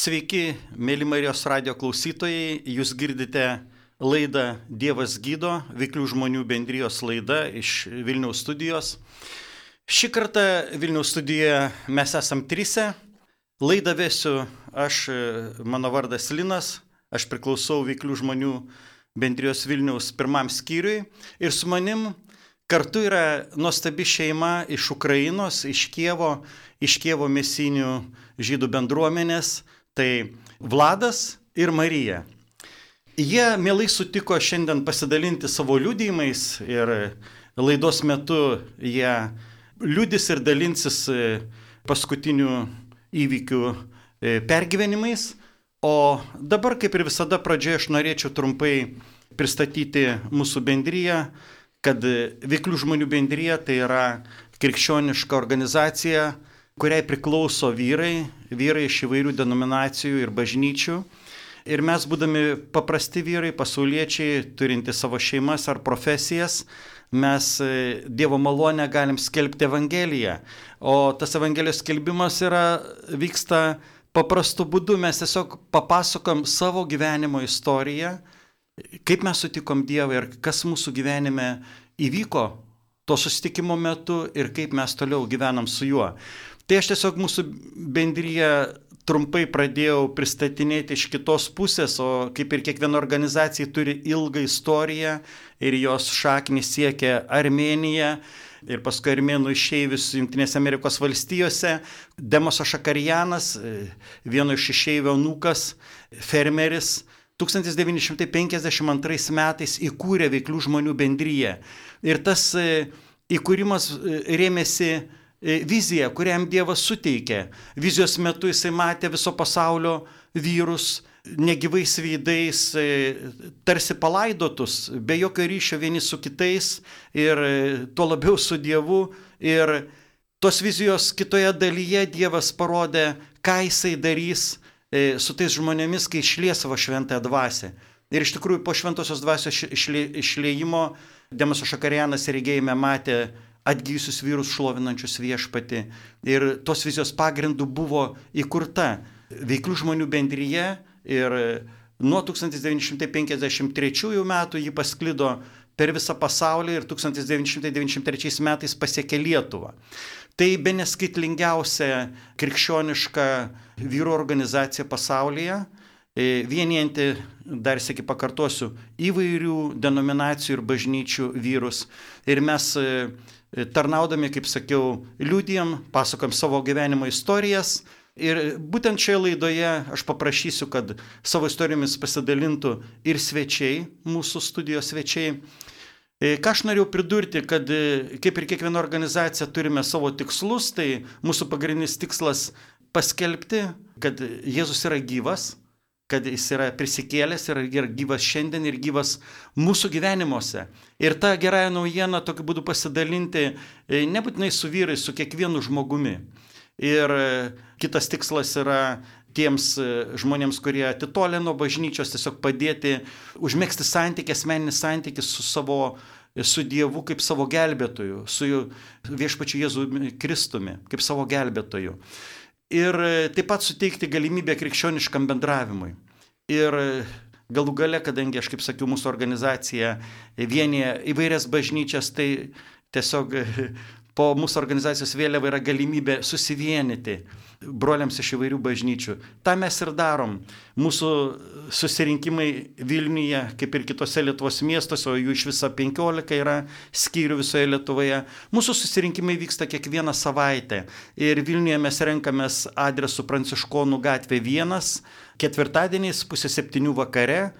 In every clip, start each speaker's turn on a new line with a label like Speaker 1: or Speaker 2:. Speaker 1: Sveiki, mėly Marijos radio klausytojai, jūs girdite laidą Dievas gydo, Viklių žmonių bendrijos laida iš Vilniaus studijos. Šį kartą Vilniaus studijoje mes esam trise. Laidą vesiu aš, e, mano vardas Linas, aš priklausau Viklių žmonių bendrijos Vilniaus pirmam skyriui ir su manim Kartu yra nuostabi šeima iš Ukrainos, iš Kievo, iš Kievo mesinių žydų bendruomenės, tai Vladas ir Marija. Jie mielai sutiko šiandien pasidalinti savo liudymais ir laidos metu jie liudys ir dalinsis e, paskutinių įvykių e, pergyvenimais. O dabar, kaip ir visada, pradžioje aš norėčiau trumpai pristatyti mūsų bendryją kad Viklių žmonių bendryje tai yra krikščioniška organizacija, kuriai priklauso vyrai, vyrai iš įvairių denominacijų ir bažnyčių. Ir mes, būdami paprasti vyrai, pasauliečiai, turinti savo šeimas ar profesijas, mes e, Dievo malonę galim skelbti Evangeliją. O tas Evangelijos skelbimas yra, vyksta paprastu būdu, mes tiesiog papasakom savo gyvenimo istoriją, kaip mes sutikom Dievą ir kas mūsų gyvenime įvyko to susitikimo metu ir kaip mes toliau gyvenam su juo. Tai aš tiesiog mūsų bendryje trumpai pradėjau pristatinėti iš kitos pusės, o kaip ir kiekviena organizacija turi ilgą istoriją ir jos šaknis siekia Armeniją ir paskui armėnų išeivius Junktinėse Amerikos valstijose, Demoso Šakarijanas, vieno iš išeivio nukas, fermeris, 1952 metais įkūrė veiklių žmonių bendryje. Ir tas e, įkūrimas e, rėmėsi vizija, kuriam Dievas suteikė. Vizijos metu jisai matė viso pasaulio vyrus negyvais veidais, e, tarsi palaidotus, be jokio ryšio vieni su kitais ir e, tuo labiau su Dievu. Ir tos vizijos kitoje dalyje Dievas parodė, ką jisai darys e, su tais žmonėmis, kai išlė savo šventąją dvasę. Ir iš tikrųjų po šventosios dvasios išlėjimo Demasas Šakarianas regėjime matė atgyjusius vyrus šlovinančius viešpati. Ir tos vizijos pagrindų buvo įkurta veiklių žmonių bendryje ir e, nuo 1953 metų ji pasklido per visą pasaulį ir 1993 metais pasiekė Lietuvą. Tai be neskaitlingiausia krikščioniška vyru organizacija pasaulyje, e, vienijanti, dar sėki pakartosiu, įvairių denominacijų ir bažnyčių vyrus. Ir mes e, tarnaudami, kaip sakiau, liūdėjom, pasakom savo gyvenimo istorijas. Ir būtent šioje laidoje aš paprašysiu, kad savo istorijomis pasidalintų ir svečiai, mūsų studijos svečiai. E, Ką aš norėjau pridurti, kad e, kaip ir kiekviena organizacija turime savo tikslus, tai mūsų pagrindinis tikslas paskelbti, kad Jėzus yra gyvas, kad jis yra prisikėlęs ir yra gyvas šiandien ir gyvas mūsų gyvenimuose. Ir tą gerąją naujieną tokiu būdu pasidalinti e, nebūtinai su vyrai, su kiekvienu žmogumi. Ir e, kitas tikslas yra tiems e, žmonėms, kurie atitolė nuo bažnyčios, tiesiog padėti užmėgsti santykį, asmeninį santykį su savo, e, su Dievu kaip savo gelbėtoju, su viešpačiu Jėzu Kristumi kaip savo gelbėtoju. Ir e, taip pat suteikti galimybę krikščioniškam bendravimui. Ir e, galų gale, kadangi aš, kaip sakiau, mūsų organizacija vienyje įvairias bažnyčias, tai tiesiog e, po mūsų organizacijos vėliava yra galimybė susivienyti broliams iš įvairių bažnyčių. Ta mes ir darom. Mūsų susirinkimai Vilniuje, kaip ir kitose Lietuvos miestuose, o jų iš viso 15 yra skyrių visoje Lietuvoje. Mūsų susirinkimai vyksta kiekvieną savaitę. Ir Vilniuje mes renkamės adresu Pranciškonų gatvė 1, ketvirtadieniais pusė 7 vakare.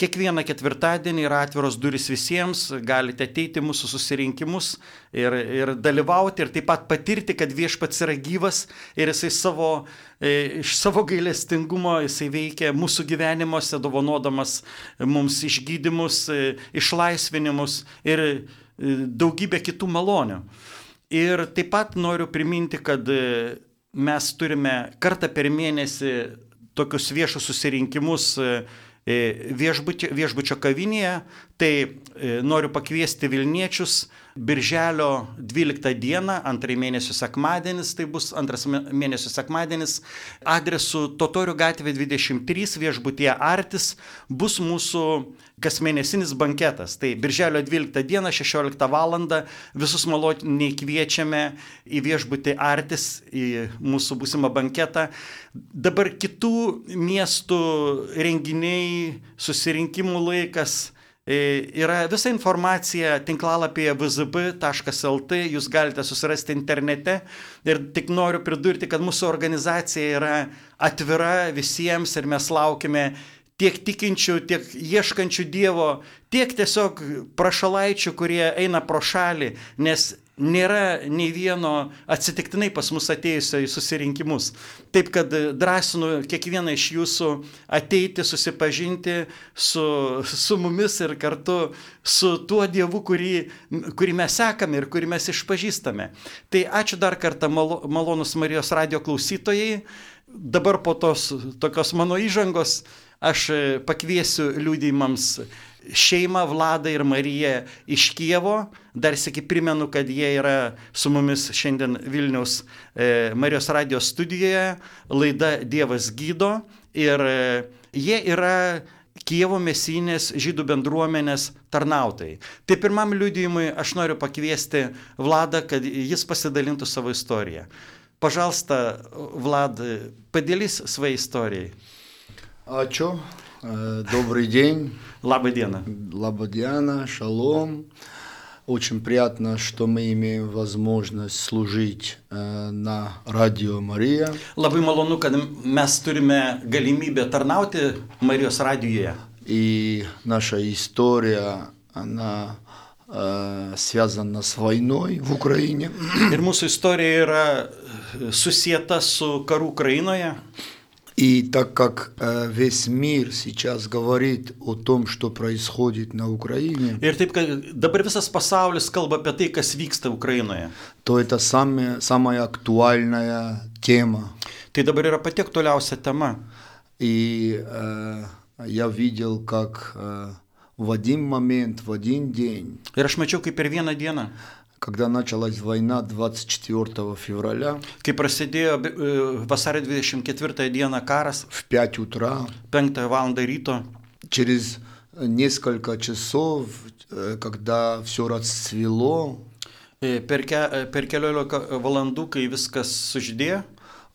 Speaker 1: Kiekvieną ketvirtadienį yra atviros durys visiems, galite ateiti mūsų susirinkimus ir, ir dalyvauti ir taip pat patirti, kad viešpats yra gyvas ir jisai savo, e, iš savo gailestingumo jisai veikia mūsų gyvenimuose, dovanodamas mums išgydymus, e, išlaisvinimus ir e, daugybę kitų malonių. Ir taip pat noriu priminti, kad e, mes turime kartą per mėnesį tokius viešus susirinkimus e, viešbučio, viešbučio kavinėje, tai noriu pakviesti e, Vilniečius Birželio 12 dieną, antrai mėnesio sekmadienis, tai bus antras mė- mėnesio sekmadienis, adresu Totorių gatvė 23 viešbutyje Artis bus mūsų kasmėnesinis banketas. Tai birželio 12 dieną 16 val. visus maloniai kviečiame į viešbutį Artis, į mūsų būsimą banketą. Dabar kitų miestų renginiai, susirinkimų laikas. E, Yra visa informacija tinklalapyje vzb.lt, jūs galite susirasti internete ir tik noriu pridurti, kad mūsų organizacija yra atvira visiems ir mes laukime tiek tikinčių, tiek ieškančių Dievo, tiek tiesiog prašalaičių, kurie eina pro šalį, nes nėra nei vieno atsitiktinai pas mus atėjusio į susirinkimus. Taip kad drąsinu kiekvieną iš jūsų ateiti, susipažinti su, su mumis ir kartu su tuo Dievu, kurį, kurį mes sekame ir kurį mes išpažįstame. Tai ačiū dar kartą malo, malonus Marijos radio klausytojai. Dabar po tos tokios mano įžangos aš e, pakviesiu liūdėjimams šeimą Vladą ir Mariją iš Kievo. Dar sėki primenu, kad jie yra su mumis šiandien Vilniaus e, Marijos radijos studijoje, laida Dievas gydo. Ir e, jie yra Kievo mesinės žydų bendruomenės tarnautojai. Tai pirmam liūdėjimui aš noriu pakviesti Vladą, kad jis pasidalintų savo istoriją. Pažalsta, Vlad, padėlis savo istorijai.
Speaker 2: Ačiū, А Э, добрый день,
Speaker 1: Labą dieną.
Speaker 2: Лабадьяна, шалом. Очень приятно, что мы имеем возможность служить э, на радио Мария.
Speaker 1: Labai malonu, kad mes turime galimybę tarnauti Marijos radijoje.
Speaker 2: И наша история, она э, связана с войной в Украине.
Speaker 1: Ir mūsų istorija yra susijęta su karu Ukrainoje.
Speaker 2: И так как э, весь мир сейчас говорит о том, что proисходит на Украине,
Speaker 1: Ir taip, kad dabar visas pasaulis kalba apie tai, kas vyksta Ukrainoje.
Speaker 2: то это самая, самая актуальная тема.
Speaker 1: Tai dabar yra pati aktualiausia tema.
Speaker 2: И э, я видел, как э, в один момент, в один день,
Speaker 1: Ir aš mačiau, kaip per vieną dieną,
Speaker 2: когда началась война 24 февраля,
Speaker 1: kai prasidėjo be- e, vasario 24 dieną karas,
Speaker 2: в 5 утра,
Speaker 1: 5 val. ryto,
Speaker 2: через несколько часов, э, когда все расцвело,
Speaker 1: e, per, ke, e, per keliolika valandų, kai viskas sužydėjo,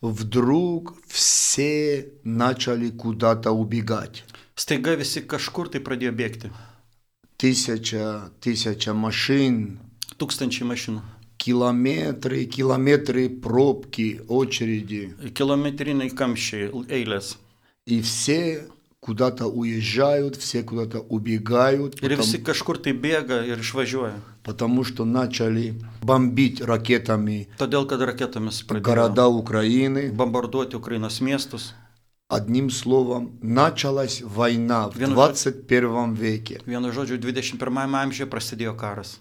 Speaker 2: вдруг все начали куда-то убегать.
Speaker 1: staiga visi kažkur tai pradėjo bėgti.
Speaker 2: Тысяча, тысяча машин,
Speaker 1: Tūkstančiai mašinų.
Speaker 2: километры, километры пробки, очереди.
Speaker 1: Kilometriniai kamščiai, l- eilės.
Speaker 2: И все куда-то уезжают, все куда-то убегают,
Speaker 1: Ir
Speaker 2: потом-
Speaker 1: visi kažkur tai bėga ir išvažiuoja.
Speaker 2: потому что начали бомбить ракетами
Speaker 1: Todėl, kad raketomis pradėjo
Speaker 2: города Украины.
Speaker 1: bombarduoti Ukrainos miestus.
Speaker 2: Одним словом, началась война в
Speaker 1: Вену-
Speaker 2: 21 веке
Speaker 1: Vienu žodžiu, 21 amžiuje prasidėjo karas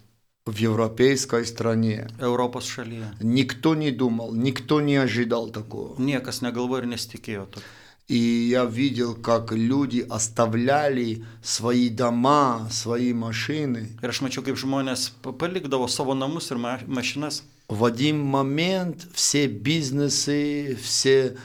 Speaker 2: в европейской стране.
Speaker 1: Europos šalyje.
Speaker 2: Никто не думал, никто не ожидал такого.
Speaker 1: Niekas negalvojo ir nesitikėjo to.
Speaker 2: И я видел, как люди оставляли свои дома, свои машины.
Speaker 1: Ir aš mačiau, kaip žmonės pa- palikdavo savo namus ir ma mašinas.
Speaker 2: В один момент все бизнесы, все,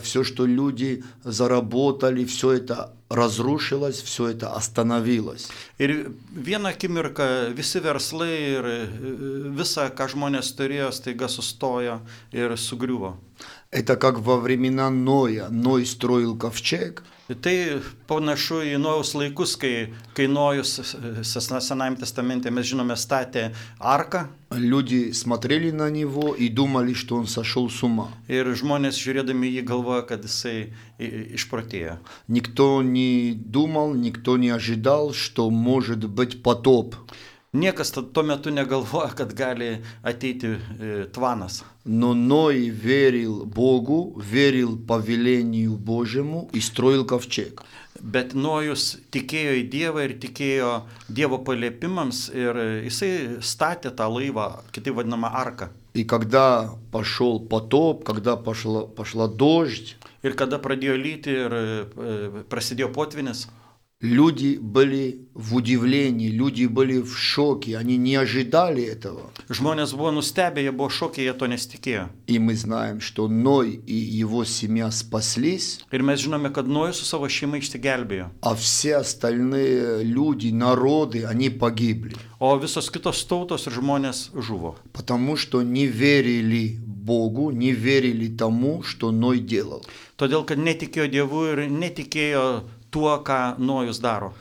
Speaker 2: все, что люди заработали, все это разрушилось, все это остановилось.
Speaker 1: Ir vieną akimirką visi verslai ir e, visa, ką žmonės turėjo, staiga sustojo ir sugriuvo.
Speaker 2: Это как во времена Ноя. Ной строил ковчег,
Speaker 1: Tai panašu į nuojus laikus, kai, kai nuojus Senajame testamente mes žinome statė arką
Speaker 2: люди смотрели на него и думали, что он сошел с ума.
Speaker 1: ir žmonės žiūrėdami į jį galvoja, kad jisai i- i- išprotėjo.
Speaker 2: Никто не думал, никто не ожидал, что может быть потоп.
Speaker 1: Niekas tad tuo metu negalvoja, kad gali ateiti e, tvanas.
Speaker 2: Но Ной верил Богу, верил повелению Божьему и строил ковчег.
Speaker 1: Bet nuojus tikėjo į Dievą ir tikėjo Dievo paliepimams ir e, jisai statė tą laivą, kitaip vadinamą arką.
Speaker 2: И когда пошел потоп, когда пошла, пошла дождь,
Speaker 1: Ir kada pradėjo lyti ir e, prasidėjo potvinis,
Speaker 2: Люди были в удивлении, люди были в шоке, они не ожидали этого.
Speaker 1: Žmonės buvo nustebę, jie buvo šokiai, jie to nesitikėjo.
Speaker 2: И мы знаем, что Ной и его семья спаслись,
Speaker 1: Ir mes žinome, kad Nojus su savo šeima išsigelbėjo,
Speaker 2: а все остальные люди, народы, они погибли,
Speaker 1: o visos kitos tautos ir žmonės žuvo,
Speaker 2: потому что не верили Богу, не верили тому, что Ной делал.
Speaker 1: todėl kad netikėjo Dievu ir netikėjo tuo, ką Nojus daro.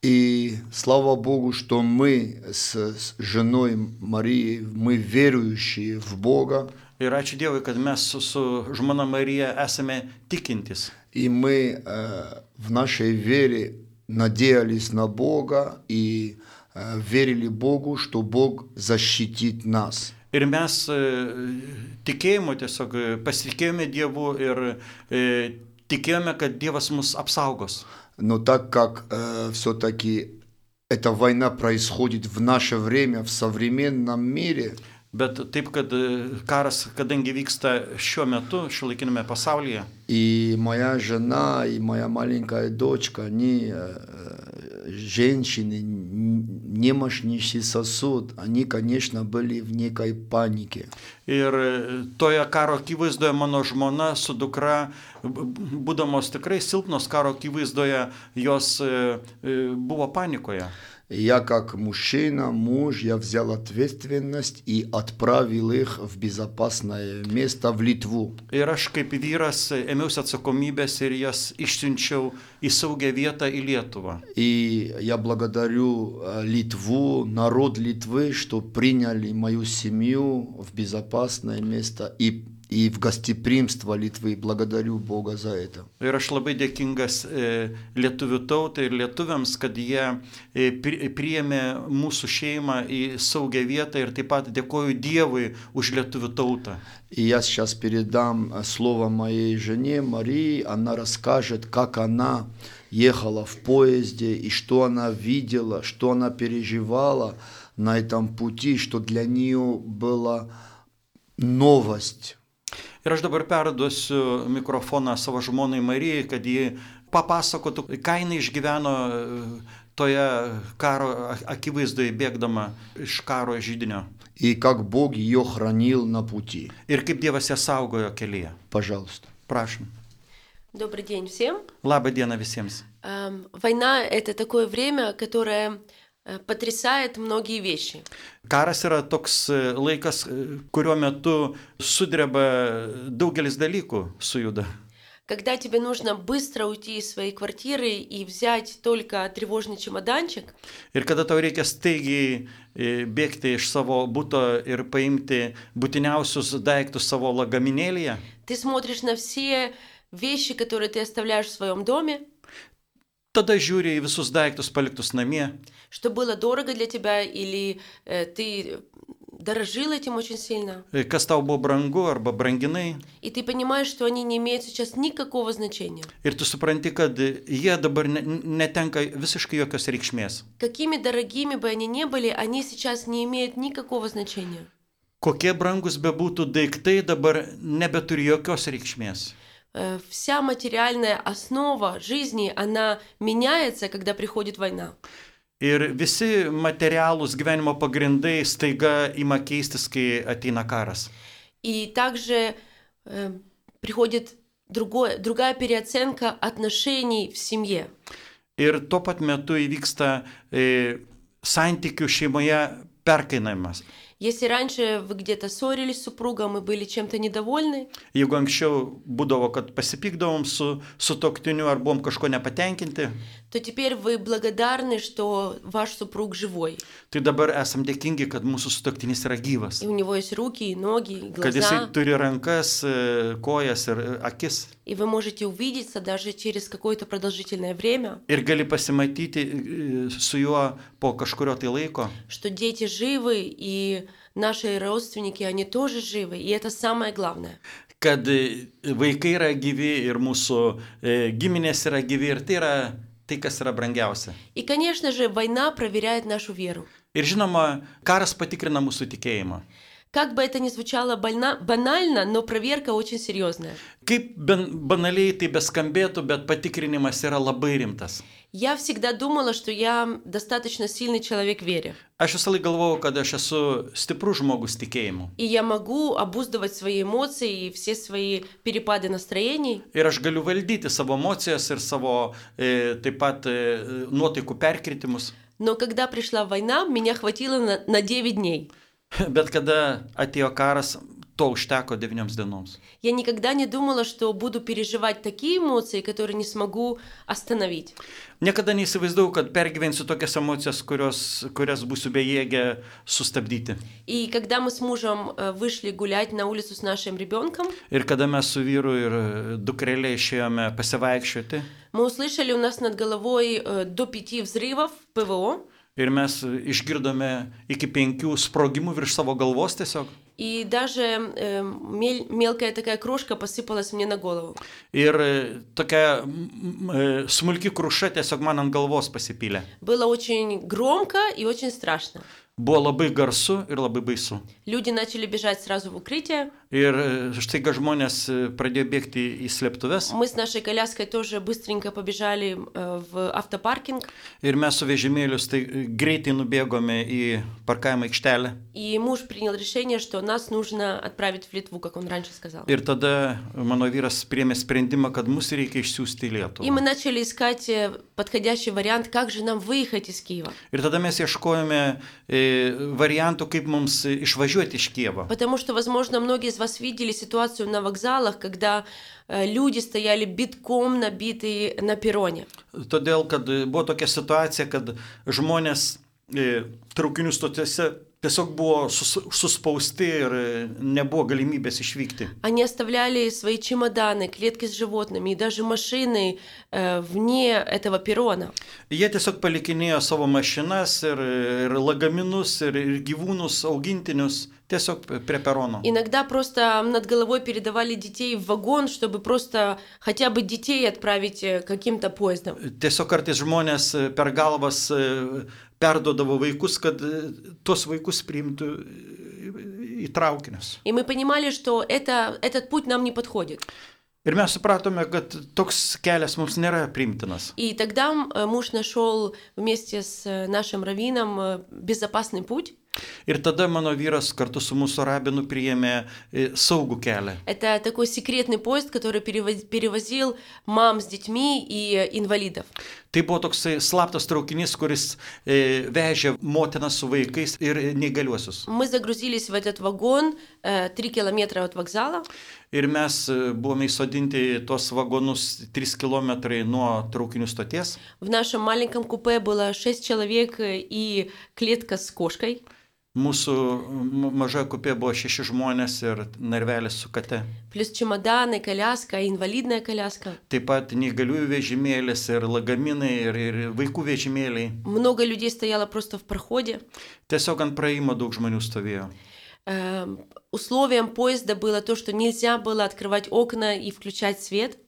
Speaker 2: И слава Богу, что мы с, с женой Марии, мы верующие в Бога,
Speaker 1: Ir ačiū Dievui, kad mes su, su žmona Marija esame tikintis.
Speaker 2: и мы э, в нашей вере надеялись на Бога и э, верили Богу, что Бог защитит нас.
Speaker 1: Ir mes e, tikėjimu tiesiog e, pasitikėjome Dievu ir e, tikėjome, kad Dievas mus apsaugos.
Speaker 2: Но так как все-таки эта война происходит в наше время, в современном мире,
Speaker 1: Bet taip, kad e, karas, kadangi vyksta šiuo metu, šiuolaikinėme pasaulyje,
Speaker 2: и моя жена, и моя маленькая дочка, они э, женщины, н- немощнейший сосуд, они, конечно, были в некой панике.
Speaker 1: Ir e, toje karo akivaizdoje mano žmona su dukra, b- b- būdamos tikrai silpnos karo akivaizdoje, jos e, e, buvo panikoje.
Speaker 2: И Я как мужчина, муж, я взял ответственность и отправил их в безопасное место, в Литву.
Speaker 1: Ir aš kaip vyras e, ėmiausi atsakomybės ir jas išsiunčiau į saugią vietą į Lietuvą.
Speaker 2: И я благодарю э, Литву, народ Литвы, что приняли мою семью в безопасное место и, и в гостеприимство Литвы. Благодарю Бога за это.
Speaker 1: Ir aš labai dėkingas e, lietuvių tautai ir lietuviams, kad jie e, pri- priėmė mūsų šeimą į saugią vietą ir taip pat dėkoju Dievui už lietuvių tautą.
Speaker 2: И я сейчас передам э, слово моей жене Марии. Она расскажет, как она ехала в поезде и что она видела, что она переживала на этом пути, что для нее была новость.
Speaker 1: Ir aš dabar perduosiu mikrofoną savo žmonai Marijai, kad ji papasakotų, ką jinai išgyveno e, toje karo a- akivaizdoje bėgdama iš karo žydinio.
Speaker 2: и как Бог ее хранил на пути.
Speaker 1: Ir kaip Dievas ją saugojo kelyje.
Speaker 2: Пожалуйста.
Speaker 1: Prašom.
Speaker 3: Добрый день всем.
Speaker 1: Labą dieną visiems.
Speaker 3: Эм, Война — это такое время, которое э, потрясает многие вещи.
Speaker 1: Karas yra toks e, laikas, e, kuriuo metu sudreba daugelis dalykų sujuda.
Speaker 3: Когда тебе нужно быстро уйти из своей квартиры и взять только тревожный чемоданчик,
Speaker 1: Ir kada tau reikia staigiai e, bėgti iš savo būto ir paimti būtiniausius daiktus savo lagaminėlėje,
Speaker 3: ты смотришь на все вещи, которые ты оставляешь в своем доме,
Speaker 1: Tada žiūri į visus daiktus paliktus namie,
Speaker 3: что было дорого для тебя, или э, ты дорожил этим очень сильно,
Speaker 1: kas tau buvo brangu arba branginai.
Speaker 3: и ты понимаешь, что они не имеют сейчас никакого значения.
Speaker 1: Ir tu supranti, kad jie dabar ne, netenka visiškai jokios reikšmės.
Speaker 3: Какими дорогими бы они ни были, они сейчас не имеют никакого значения.
Speaker 1: Kokie brangus bebūtų daiktai dabar nebeturi jokios reikšmės.
Speaker 3: Э, вся материальная основа жизни, она меняется, когда приходит война.
Speaker 1: Ir visi materialūs gyvenimo pagrindai staiga ima keistis, kai ateina karas.
Speaker 3: И также э, приходит другое, другая переоценка отношений в семье.
Speaker 1: Ir tuo pat metu įvyksta e, santykių šeimoje perkainavimas.
Speaker 3: Если раньше вы где-то ссорились с супругом и были чем-то недовольны,
Speaker 1: Jeigu anksčiau būdavo, kad pasipykdavom su, su toktiniu ar buvom kažko nepatenkinti,
Speaker 3: то теперь вы благодарны, что ваш супруг живой.
Speaker 1: tai dabar esam dėkingi, kad mūsų sutoktinis yra gyvas.
Speaker 3: И у него есть руки, и ноги, и
Speaker 1: Kad jisai
Speaker 3: глаза.
Speaker 1: turi rankas, e, kojas ir e, akis.
Speaker 3: И вы можете увидеться даже через какое-то продолжительное время,
Speaker 1: Ir gali pasimatyti e, su juo po kažkurio tai laiko.
Speaker 3: что дети живы, и наши родственники, они тоже живы. И это самое главное.
Speaker 1: Kad e, vaikai yra gyvi ir mūsų e, giminės yra gyvi ir tai yra tai, kas yra brangiausia.
Speaker 3: И, конечно же, война проверяет нашу веру.
Speaker 1: Ir žinoma, karas patikrina mūsų tikėjimą.
Speaker 3: Как бы это ни звучало больна- банально, но проверка очень серьезная.
Speaker 1: Kaip ben- banaliai tai beskambėtų, bet patikrinimas yra labai rimtas.
Speaker 3: Я всегда думала, что я достаточно сильный человек в вере.
Speaker 1: Aš visą laiką galvojau, kad aš esu stiprus žmogus tikėjimu.
Speaker 3: И я могу обуздывать свои эмоции и все свои перепады настроений.
Speaker 1: Ir aš galiu valdyti savo emocijas ir savo e, taip pat e, nuotaikų perkritimus.
Speaker 3: Но когда пришла война, меня хватило на, на 9 дней.
Speaker 1: Bet kada atėjo karas, to užteko devyniams dienoms.
Speaker 3: Я никогда не думала, что буду переживать такие эмоции, которые не смогу остановить.
Speaker 1: Niekada neįsivaizdavau, kad pergyvensiu tokias emocijas, kurios, kurias būsiu bejėgė sustabdyti.
Speaker 3: И когда мы с мужем э, вышли гулять на улицу с нашим ребенком,
Speaker 1: Ir kada mes su vyru ir e, dukrelė išėjome pasivaikščioti
Speaker 3: мы услышали у нас над головой э, до пяти взрывов ПВО.
Speaker 1: ir mes e, išgirdome iki penkių sprogimų virš savo galvos tiesiog.
Speaker 3: И даже э, мель- мелкая такая крошка посыпалась мне на голову.
Speaker 1: Ir e, tokia mm, e, smulki kruša tiesiog man ant galvos pasipylė.
Speaker 3: Было очень громко и очень страшно.
Speaker 1: Buvo labai garsu ir labai baisu.
Speaker 3: Люди начали бежать сразу в укрытие.
Speaker 1: Ir e, štai, kad žmonės e, pradėjo bėgti į slėptuves
Speaker 3: Мы с нашей коляской тоже быстренько побежали э, в автопаркинг.
Speaker 1: ir mes su vežimėlius tai e, greitai nubėgome į parkavimo aikštelę.
Speaker 3: И муж принял решение, что нас нужно отправить в Литву, как он раньше сказал.
Speaker 1: Ir tada mano vyras priemė sprendimą, kad mus reikia išsiųsti į
Speaker 3: И мы
Speaker 1: Lietuvą.
Speaker 3: начали искать э, подходящий вариант, как же нам выехать из Киева.
Speaker 1: Ir tada mes ieškojome e, variantų, kaip mums e, išvažiuoti iš Kievo.
Speaker 3: Потому что, возможно, многие из вас видели ситуацию на вокзалах, когда э, люди стояли битком набитые на перроне.
Speaker 1: Todėl, kad e, buvo tokia situacija, kad žmonės e, traukinių stotėse tiesiog buvo sus, suspausti ir e, nebuvo galimybės išvykti.
Speaker 3: Они оставляли свои чемоданы, клетки с животными и даже машины э, вне этого перрона.
Speaker 1: Jie tiesiog palikinėjo savo mašinas ir, ir lagaminus, ir, ir gyvūnus, augintinius, tiesiog prie perono.
Speaker 3: Иногда просто над головой передавали детей в вагон, чтобы просто хотя бы детей отправить э, каким-то поездом.
Speaker 1: Tiesiog kartais žmonės e, per galvas e, perduodavo vaikus, kad e, tuos vaikus priimtų e, į traukinius.
Speaker 3: И мы понимали, что это, этот путь нам не подходит.
Speaker 1: Ir mes supratome, kad toks kelias mums nėra priimtinas.
Speaker 3: И тогда м, э, муж нашел вместе с э, нашим раввином э, безопасный путь.
Speaker 1: Ir tada mano vyras kartu su mūsų rabinu priėmė e, saugų kelią.
Speaker 3: Это такой секретный поезд, который перевоз- перевозил мам с детьми и э, инвалидов.
Speaker 1: Tai buvo toksai slaptas traukinys, kuris e, vežė motinas su vaikais ir e, neįgaliuosius.
Speaker 3: Мы загрузились в этот вагон э, три километра от вокзала.
Speaker 1: Ir mes e, buvome įsodinti į tuos vagonus 3 km nuo traukinių stoties.
Speaker 3: В нашем маленьком купе было шесть человек э, и клетка с кошкой.
Speaker 1: Mūsų m- mažoje kupė buvo šeši žmonės ir narvelis su kate.
Speaker 3: Плюс чемоданы, коляска, инвалидная коляска.
Speaker 1: Taip pat neįgaliųjų vežimėlis ir lagaminai ir, ir vaikų vežimėliai.
Speaker 3: Много людей стояло просто в проходе.
Speaker 1: Tiesiog ant praėjimo daug žmonių stovėjo.
Speaker 3: Эм, Условием поезда было то, что нельзя было открывать окна и включать свет.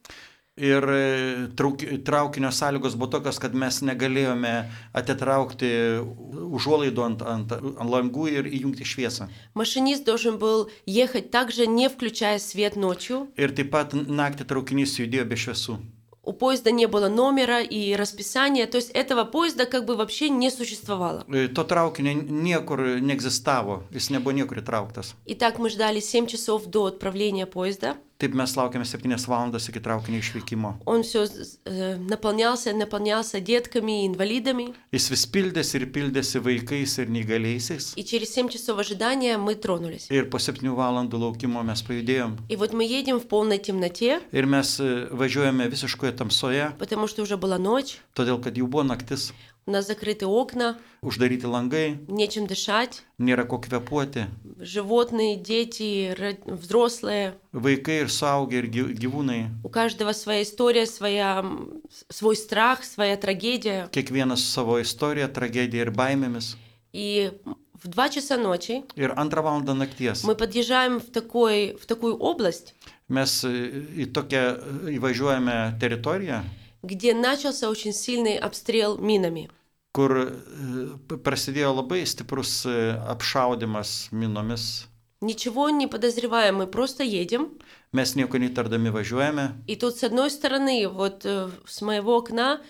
Speaker 1: Ir e, trauki- traukinio sąlygos buvo tokios, kad mes negalėjome atitraukti užuolaidų ant, ant, ant langų ir įjungti šviesą.
Speaker 3: Машинист должен был ехать также, не включая свет ночью.
Speaker 1: Ir taip pat naktį traukinys judėjo be šviesų.
Speaker 3: У поезда не было номера и расписания, то есть этого поезда как бы вообще не существовало.
Speaker 1: E, To traukinio niekur neegzistavo, jis nebuvo niekur įtrauktas.
Speaker 3: Итак, мы ждали 7 часов до отправления поезда.
Speaker 1: Taip mes laukėme 7 valandas iki traukinio išvykimo.
Speaker 3: Он все наполнялся, наполнялся детками и инвалидами.
Speaker 1: Jis vis pildėsi ir pildėsi vaikais ir neįgaliaisiais.
Speaker 3: И через 7 часов ожидания мы тронулись.
Speaker 1: Ir po 7 valandų laukimo mes pajudėjom.
Speaker 3: И вот мы едем в полной темноте,
Speaker 1: Ir mes e, važiuojame visiškoje tamsoje,
Speaker 3: потому что уже была ночь,
Speaker 1: todėl kad jau buvo naktis,
Speaker 3: у нас закрыты окна,
Speaker 1: uždaryti langai,
Speaker 3: нечем дышать,
Speaker 1: nėra ko kvepuoti.
Speaker 3: животные, дети, ро- взрослые.
Speaker 1: Vaikai ir suaugę ir gy- gyvūnai,
Speaker 3: У каждого своя история, своя, м, с- свой страх, своя трагедия.
Speaker 1: kiekvienas su savo istorija, tragedija ir baimėmis.
Speaker 3: И в 2 часа ночи
Speaker 1: Ir antrą valandą nakties
Speaker 3: мы подъезжаем в, такой, в такую область,
Speaker 1: mes e, į tokią e, įvažiuojame teritoriją,
Speaker 3: где начался очень сильный обстрел минами.
Speaker 1: kur e, p- prasidėjo labai stiprus e, apšaudimas minomis.
Speaker 3: Ничего не подозреваем, мы просто едем.
Speaker 1: Mes nieko netardami važiuojame,
Speaker 3: И тут с одной стороны, вот э, с моего окна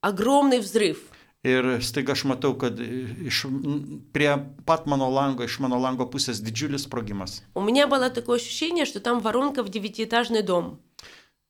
Speaker 3: огромный взрыв.
Speaker 1: Ir staiga aš matau, kad e, iš, n- prie pat mano lango, iš mano lango pusės didžiulis sprogimas.
Speaker 3: У меня было такое ощущение, что там воронка в девятиэтажный дом.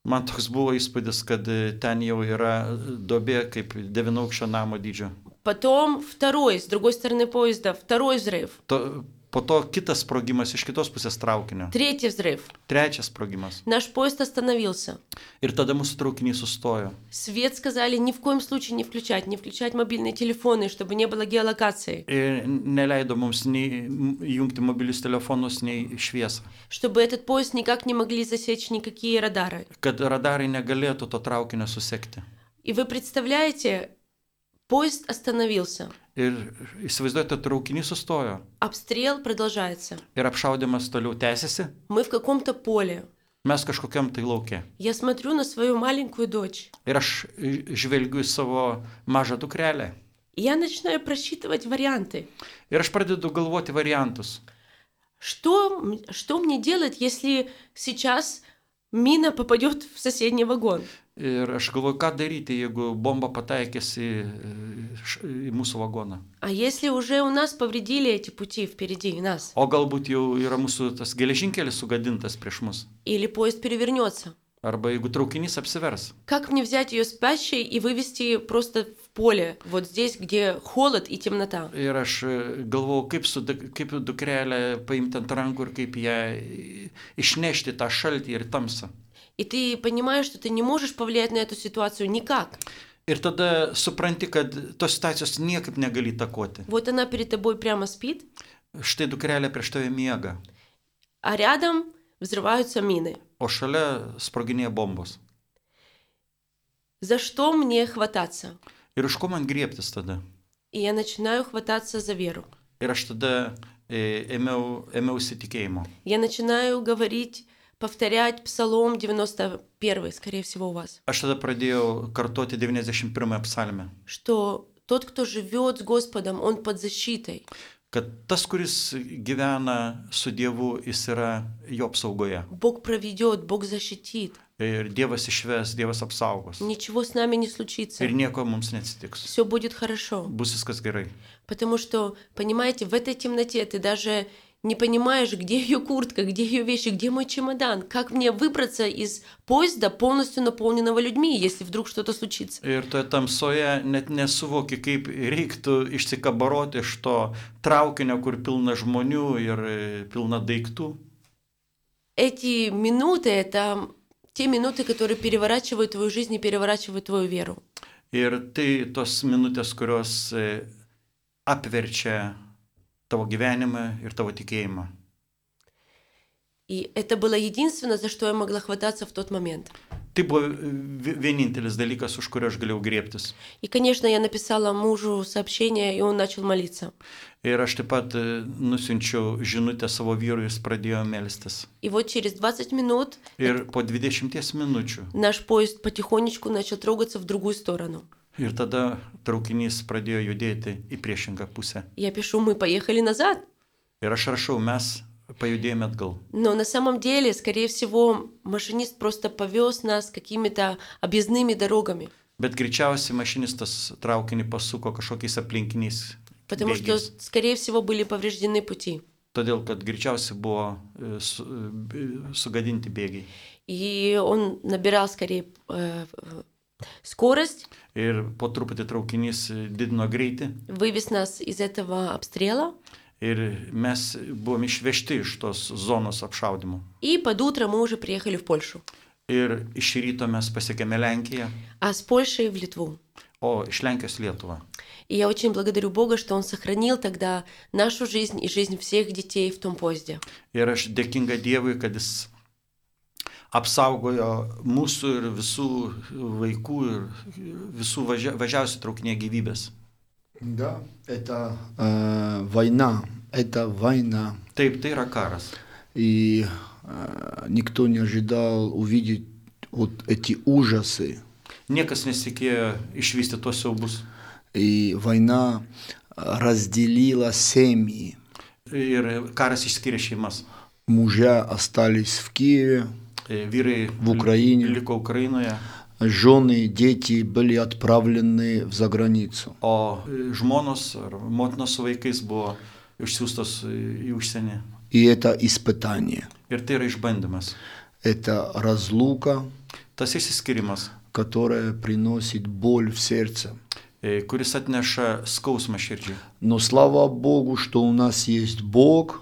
Speaker 1: Man toks buvo įspūdis, kad e, ten jau yra dobė kaip devinaukščio namo dydžio.
Speaker 3: Потом второй, с другой стороны поезда, второй взрыв,
Speaker 1: To, po to kitas sprogimas iš kitos pusės traukinio.
Speaker 3: третий взрыв.
Speaker 1: Trečias sprogimas.
Speaker 3: Наш поезд остановился.
Speaker 1: Ir tada mūsų traukinys sustojo.
Speaker 3: Свет сказали ни в коем случае не включать, не включать мобильные телефоны, чтобы не было геолокации,
Speaker 1: Ir neleido mums nei m- įjungti mobilius telefonus, nei šviesą.
Speaker 3: чтобы этот поезд никак не могли засечь никакие радары.
Speaker 1: Kad radarai negalėtų to traukinio susekti.
Speaker 3: И вы представляете, поезд остановился,
Speaker 1: Ir įsivaizduojate, traukinys sustojo.
Speaker 3: обстрел продолжается.
Speaker 1: Ir apšaudimas toliau tęsiasi.
Speaker 3: Мы в каком-то поле.
Speaker 1: Mes kažkokiam tai laukia.
Speaker 3: Я смотрю на свою маленькую дочь.
Speaker 1: Ir aš ž- žvelgiu į savo mažą dukrelę.
Speaker 3: И я начинаю просчитывать варианты.
Speaker 1: Ir aš pradedu galvoti variantus.
Speaker 3: Что, м- что мне делать, если сейчас мина попадет в соседний вагон?
Speaker 1: Ir aš galvoju, ką daryti, jeigu bomba pataikys į, e, š- į mūsų vagoną.
Speaker 3: А если уже у нас повредили эти пути впереди нас?
Speaker 1: O galbūt jau yra mūsų tas geležinkelis sugadintas prieš mus.
Speaker 3: Или поезд перевернется?
Speaker 1: Arba jeigu traukinys apsivers.
Speaker 3: Как мне взять ее спящей и вывести просто в поле, вот здесь, где холод и темнота?
Speaker 1: Ir aš e, galvojau, kaip, su, duk- kaip dukrelę paimti ant rankų ir kaip ją e, išnešti tą šaltį ir tamsą.
Speaker 3: И ты понимаешь, что ты не можешь повлиять на эту ситуацию никак.
Speaker 1: Ir tada supranti, kad tos situacijos niekaip negali takoti.
Speaker 3: Вот она перед тобой прямо спит,
Speaker 1: Štai dukrelė prieš tave miega,
Speaker 3: а рядом взрываются мины.
Speaker 1: o šalia sproginėja bombos.
Speaker 3: За что мне хвататься?
Speaker 1: Ir už ko man griebtis tada?
Speaker 3: И я начинаю хвататься за веру.
Speaker 1: Ir aš tada e, ėmiau, ėmiausi tikėjimo.
Speaker 3: Я начинаю говорить, повторять Псалом 91, скорее всего, у вас,
Speaker 1: Aš tada pradėjau kartoti 91 psalmę,
Speaker 3: что тот, кто живет с Господом, он под защитой.
Speaker 1: kad tas, kuris gyvena su Dievu, jis yra jo apsaugoje.
Speaker 3: Бог проведет, Бог защитит.
Speaker 1: Ir Dievas išves, Dievas apsaugos.
Speaker 3: Ничего с нами не случится.
Speaker 1: Ir nieko mums neatsitiks.
Speaker 3: Все будет хорошо.
Speaker 1: Bus viskas gerai.
Speaker 3: Потому что, понимаете, в этой темноте ты даже не понимаешь, где ее куртка, где ее вещи, где мой чемодан. Как мне выбраться из поезда, полностью наполненного людьми, если вдруг что-то случится?
Speaker 1: Ir toje tamsoje net nesuvoki, kaip reiktų išsikabaroti iš to traukinio, kur pilna žmonių ir e, pilna daiktų.
Speaker 3: Эти минуты — это те минуты, которые переворачивают твою жизнь и переворачивают твою веру.
Speaker 1: Ir tai tos minutės, kurios e, apverčia tavo gyvenimą ir tavo tikėjimą.
Speaker 3: И это было единственное, за что я могла хвататься в тот момент.
Speaker 1: Tai buvo vi- vienintelis dalykas, už kurio aš galėjau griebtis.
Speaker 3: И, конечно, я написала мужу сообщение, и он начал молиться.
Speaker 1: Ir aš taip pat e, nusinčiau žinutę savo vyrui, jis pradėjo melstis.
Speaker 3: И вот через 20 минут
Speaker 1: Ir po 20 minučių.
Speaker 3: наш поезд потихонечку начал трогаться в другую сторону.
Speaker 1: Ir tada traukinys pradėjo judėti į priešingą pusę.
Speaker 3: Я пишу, мы поехали назад.
Speaker 1: Ir aš rašau, mes pajudėjome atgal.
Speaker 3: Но на самом деле, скорее всего, машинист просто повез нас какими-то объездными дорогами.
Speaker 1: Bet greičiausiai mašinistas traukinį pasuko kažkokiais aplinkiniais.
Speaker 3: Потому что,
Speaker 1: bėgiais.
Speaker 3: скорее всего, были повреждены пути.
Speaker 1: Todėl, kad greičiausiai buvo e, su, e, b- sugadinti bėgiai.
Speaker 3: И он набирал скорее э, э, скорость,
Speaker 1: Ir po truputį traukinys e, didino greitį
Speaker 3: вывез нас из этого обстрела.
Speaker 1: ir mes buvom išvežti iš tos zonos apšaudimų.
Speaker 3: И под утро мы уже приехали в Польшу.
Speaker 1: Ir iš ryto mes pasiekėme Lenkiją,
Speaker 3: А с Польши в Литву.
Speaker 1: o iš Lenkijos Lietuvą.
Speaker 3: И я очень благодарю Бога, что Он сохранил тогда нашу жизнь и жизнь всех детей в том поезде.
Speaker 1: Ir aš dėkinga Dievui, kad jis apsaugojo mūsų ir visų vaikų ir visų važia, važiausių traukinė gyvybės.
Speaker 2: Да, это э, война, это война.
Speaker 1: Taip, tai yra karas.
Speaker 2: И э, никто не ожидал увидеть вот эти ужасы.
Speaker 1: Niekas nesitikėjo išvysti tos siaubus.
Speaker 2: И война э, разделила семьи.
Speaker 1: ir karas išskiria šeimas.
Speaker 2: Мужья остались в Киеве,
Speaker 1: E, Vyrai
Speaker 2: В Ukrainie.
Speaker 1: liko Ukrainoje,
Speaker 2: жены, дети были отправлены в заграницу.
Speaker 1: o e, žmonos ar motinos su vaikais buvo išsiųstos e, į užsienį.
Speaker 2: И это испытание.
Speaker 1: Ir tai yra išbandymas.
Speaker 2: Это разлука,
Speaker 1: Tas išsiskirimas,
Speaker 2: которая приносит боль в сердце.
Speaker 1: e, kuris atneša skausmą širdžiai.
Speaker 2: Но слава Богу, что у нас есть Бог,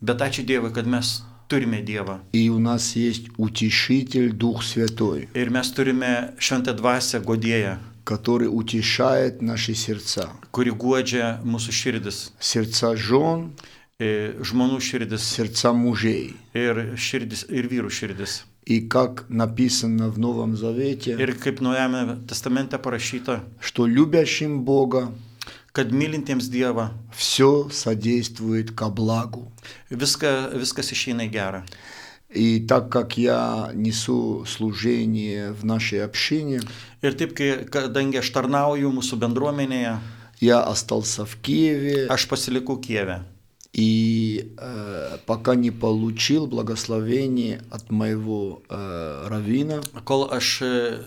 Speaker 1: Bet ačiū Dievui, kad mes turime Dievą.
Speaker 2: и у нас есть Утешитель Дух Святой,
Speaker 1: Ir mes turime šventą dvasę godėją,
Speaker 2: который утешает наши сердца.
Speaker 1: kuri guodžia mūsų širdis,
Speaker 2: Сердца жен,
Speaker 1: e, žmonių širdis
Speaker 2: сердца мужей.
Speaker 1: ir, širdis, ir vyrų širdis.
Speaker 2: И как написано в Новом Завете,
Speaker 1: Ir kaip Naujame testamente parašyta,
Speaker 2: что любящим Бога
Speaker 1: kad mylintiems Dievą
Speaker 2: все содействует ко благу.
Speaker 1: viską, viskas išeina į gerą.
Speaker 2: И так как я несу служение в нашей общине,
Speaker 1: Ir taip, kai, kadangi aš tarnauju mūsų bendruomenėje,
Speaker 2: я остался в Киеве
Speaker 1: aš pasilikau Kieve.
Speaker 2: и э, пока не получил благословение от моего э, раввина,
Speaker 1: Kol aš e,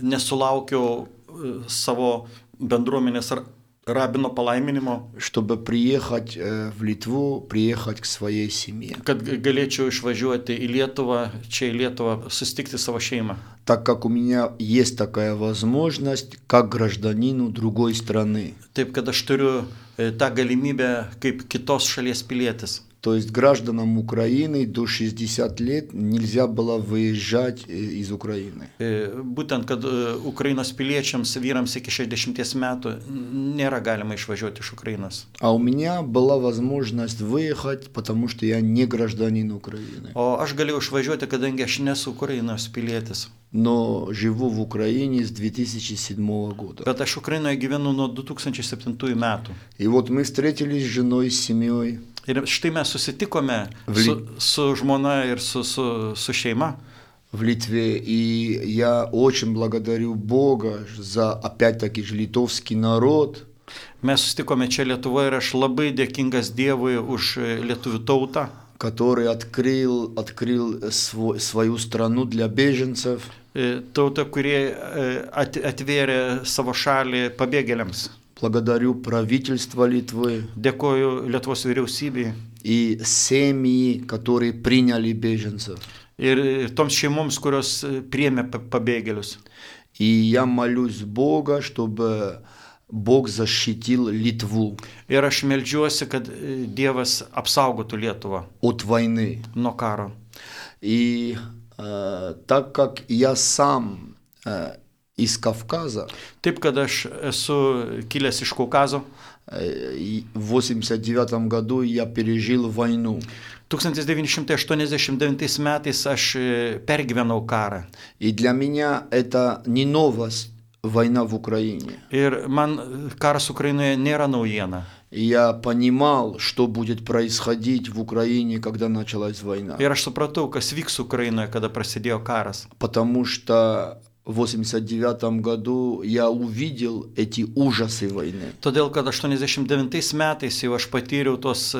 Speaker 1: nesulaukiau e, savo bendruomenės ar rabino palaiminimo,
Speaker 2: чтобы приехать э, в Литву, приехать к своей семье.
Speaker 1: kad g- galėčiau išvažiuoti į Lietuvą, čia į Lietuvą, susitikti savo šeimą.
Speaker 2: Так как у меня есть такая возможность, как гражданину другой страны.
Speaker 1: Taip, kad aš turiu e, tą galimybę kaip kitos šalies pilietis.
Speaker 2: То есть гражданам Украины до 60 лет нельзя было выезжать э, из Украины.
Speaker 1: E, Būtent, kad e, Ukrainos piliečiams, vyrams iki 60 metų n- nėra galima išvažiuoti iš Ukrainos.
Speaker 2: А у меня была возможность выехать, потому что я не гражданин Украины.
Speaker 1: O aš galėjau išvažiuoti, kadangi aš nesu Ukrainos pilietis.
Speaker 2: Но живу в Украине с 2007 года.
Speaker 1: Bet aš Ukrainoje gyvenu nuo 2007 metų.
Speaker 2: И вот мы встретились с женой, с семьей.
Speaker 1: Ir štai mes susitikome
Speaker 2: Vli-
Speaker 1: su, su žmona ir su, su, su šeima.
Speaker 2: в Литве. И я очень благодарю Бога за, опять-таки, же литовский народ,
Speaker 1: Mes susitikome čia Lietuvoje ir aš labai dėkingas Dievui už e, lietuvių tautą,
Speaker 2: который открыл, открыл сво- свою страну для беженцев.
Speaker 1: E, tautą, kurie e, at, atvėrė savo šalį pabėgėliams.
Speaker 2: Благодарю правительство Литвы
Speaker 1: Dėkoju Lietuvos vyriausybei
Speaker 2: и семьи, которые приняли беженцев.
Speaker 1: ir e, toms šeimoms, kurios e, priėmė pa- pabėgėlius.
Speaker 2: И я молюсь Бога, чтобы Бог защитил Литву
Speaker 1: Ir aš melžiuosi, kad e, Dievas apsaugotų Lietuvą
Speaker 2: от войны.
Speaker 1: nuo karo.
Speaker 2: И э, так как я сам э, из Кавказа,
Speaker 1: Taip, kad aš esu kilęs iš Kaukazo.
Speaker 2: э, и в 89 году я пережил войну.
Speaker 1: 1989 metais aš e, pergyvenau karą.
Speaker 2: И для меня это не новость, война в Украине.
Speaker 1: Ir man e, karas Ukrainoje nėra naujiena.
Speaker 2: И Я понимал, что будет происходить в Украине, когда началась война.
Speaker 1: Ir aš supratau, kas vyks Ukrainoje, kada prasidėjo karas.
Speaker 2: Потому что в 89 году я увидел эти ужасы войны.
Speaker 1: Todėl, kad 89 metais jau aš patyriau tos